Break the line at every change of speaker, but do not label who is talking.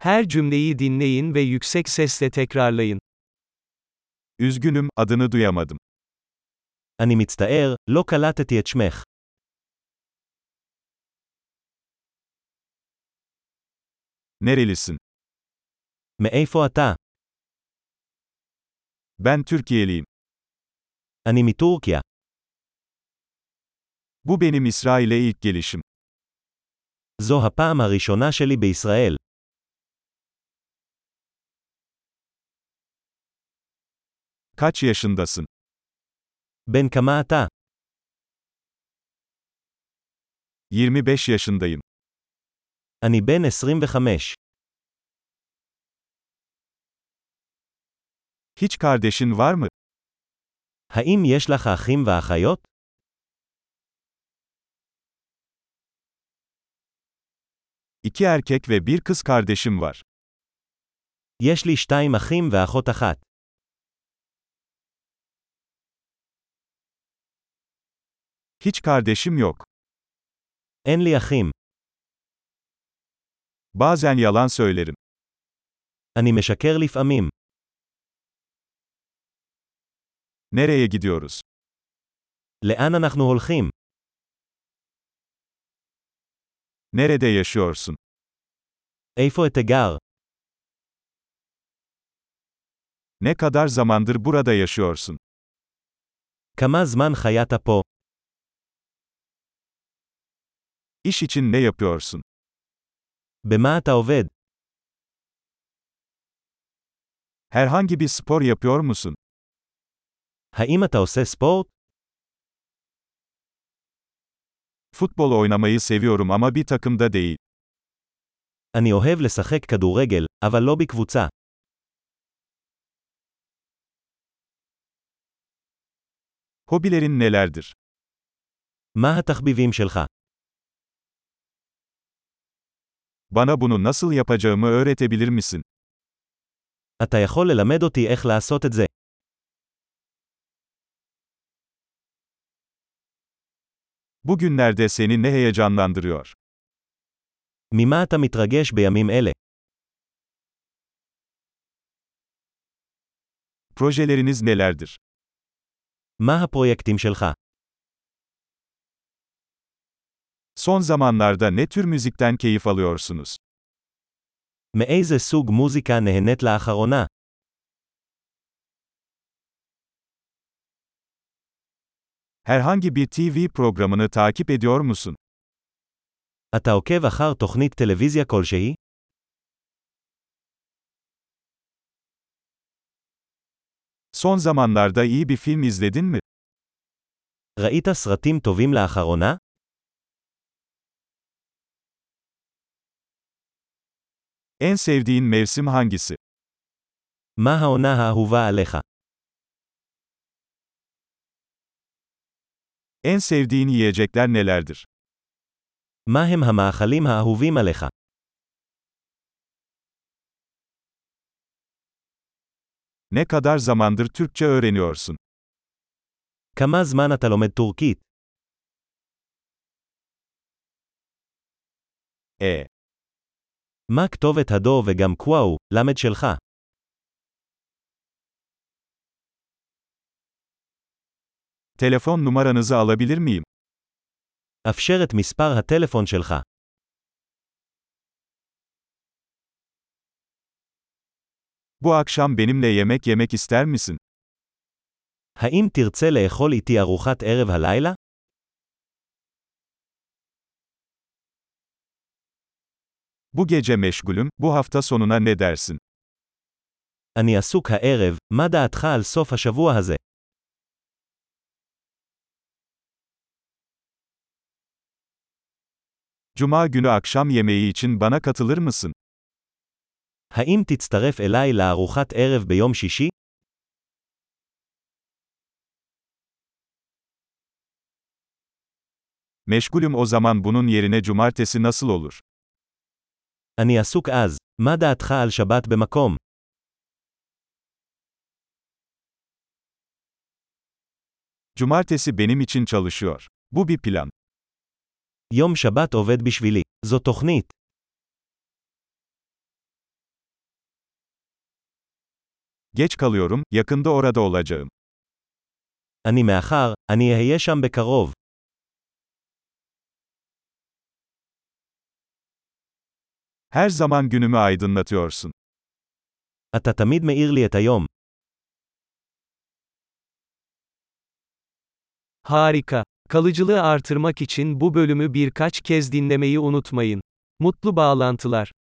Her cümleyi dinleyin ve yüksek sesle tekrarlayın.
Üzgünüm, adını duyamadım.
אני מצטער, לא קלטתי את שמך.
Nerelisin?
מאיפה אתה?
Ben Türkiye'liyim.
אני מטורקיה.
Bu benim İsrail'e ilk gelişim.
זו הפעם הראשונה שלי בישראל.
Kaç yaşındasın?
בן כמה אתה?
25 yaşındayım.
אני בן 25.
Hiç kardeşin var mı?
האם יש לך אחים ואחיות?
İki erkek ve bir kız kardeşim var.
יש לי שתיים אחים ואחות אחת.
Hiç kardeşim yok.
אין לי אחים.
Bazen yalan söylerim.
אני משקר לפעמים.
Nereye gidiyoruz?
לאן אנחנו הולכים?
Nerede yaşıyorsun?
איפה אתה גר?
Ne kadar zamandır burada yaşıyorsun?
כמה זמן חיית פה?
İş için ne yapıyorsun?
במה אתה עובד?
Herhangi bir spor yapıyor musun?
האם אתה עושה ספורט?
Futbol oynamayı seviyorum ama bir takımda değil.
אני אוהב לשחק כדורגל, אבל לא בקבוצה.
Hobilerin nelerdir?
מה התחביבים שלך?
Bana bunu nasıl yapacağımı öğretebilir misin?
אתה יכול ללמד אותי איך לעשות את זה.
Bugünlerde seni ne heyecanlandırıyor?
ממה אתה מתרגש בימים אלה?
Projeleriniz nelerdir?
מה הפרויקטים שלך?
Son zamanlarda ne tür müzikten keyif alıyorsunuz?
מאיזה סוג מוזיקה נהנית לאחרונה?
Herhangi bir TV programını takip ediyor musun?
אתה עוקב אחר תוכנית טלוויזיה כלשהי?
Son zamanlarda iyi bir film izledin mi?
ראית סרטים טובים לאחרונה?
En sevdiğin mevsim hangisi?
מה העונה האהובה עליך?
En sevdiğin yiyecekler nelerdir?
מה הם המאכלים האהובים עליך?
Ne kadar zamandır Türkçe öğreniyorsun?
כמה זמן אתה לומד טורקית?
E.
מה כתובת הדו וגם קוואו, למד שלך?
Telefon numaranızı alabilir miyim?
אפשר את מספר הטלפון שלך.
Bu akşam benimle yemek yemek ister misin?
האם תרצה לאכול איתי ארוחת ערב הלילה?
Bu gece meşgulüm, bu hafta sonuna ne dersin?
אני עסוק הערב, מה דעתך על סוף השבוע הזה?
Cuma günü akşam yemeği için bana katılır mısın?
האם תצטרף אליי לארוחת ערב ביום שישי?
Meşgulüm o zaman bunun yerine cumartesi nasıl olur?
אני עסוק אז, מה דעתך על שבת במקום?
Cumartesi benim için çalışıyor. Bu bir plan.
יום שבת עובד בשבילי, זו תוכנית.
Geç kalıyorum, yakında orada olacağım.
אני מאחר, אני אהיה שם בקרוב.
Her zaman günümü aydınlatıyorsun.
אתה תמיד מאיר לי את היום.
Harika. Kalıcılığı artırmak için bu bölümü birkaç kez dinlemeyi unutmayın. Mutlu bağlantılar.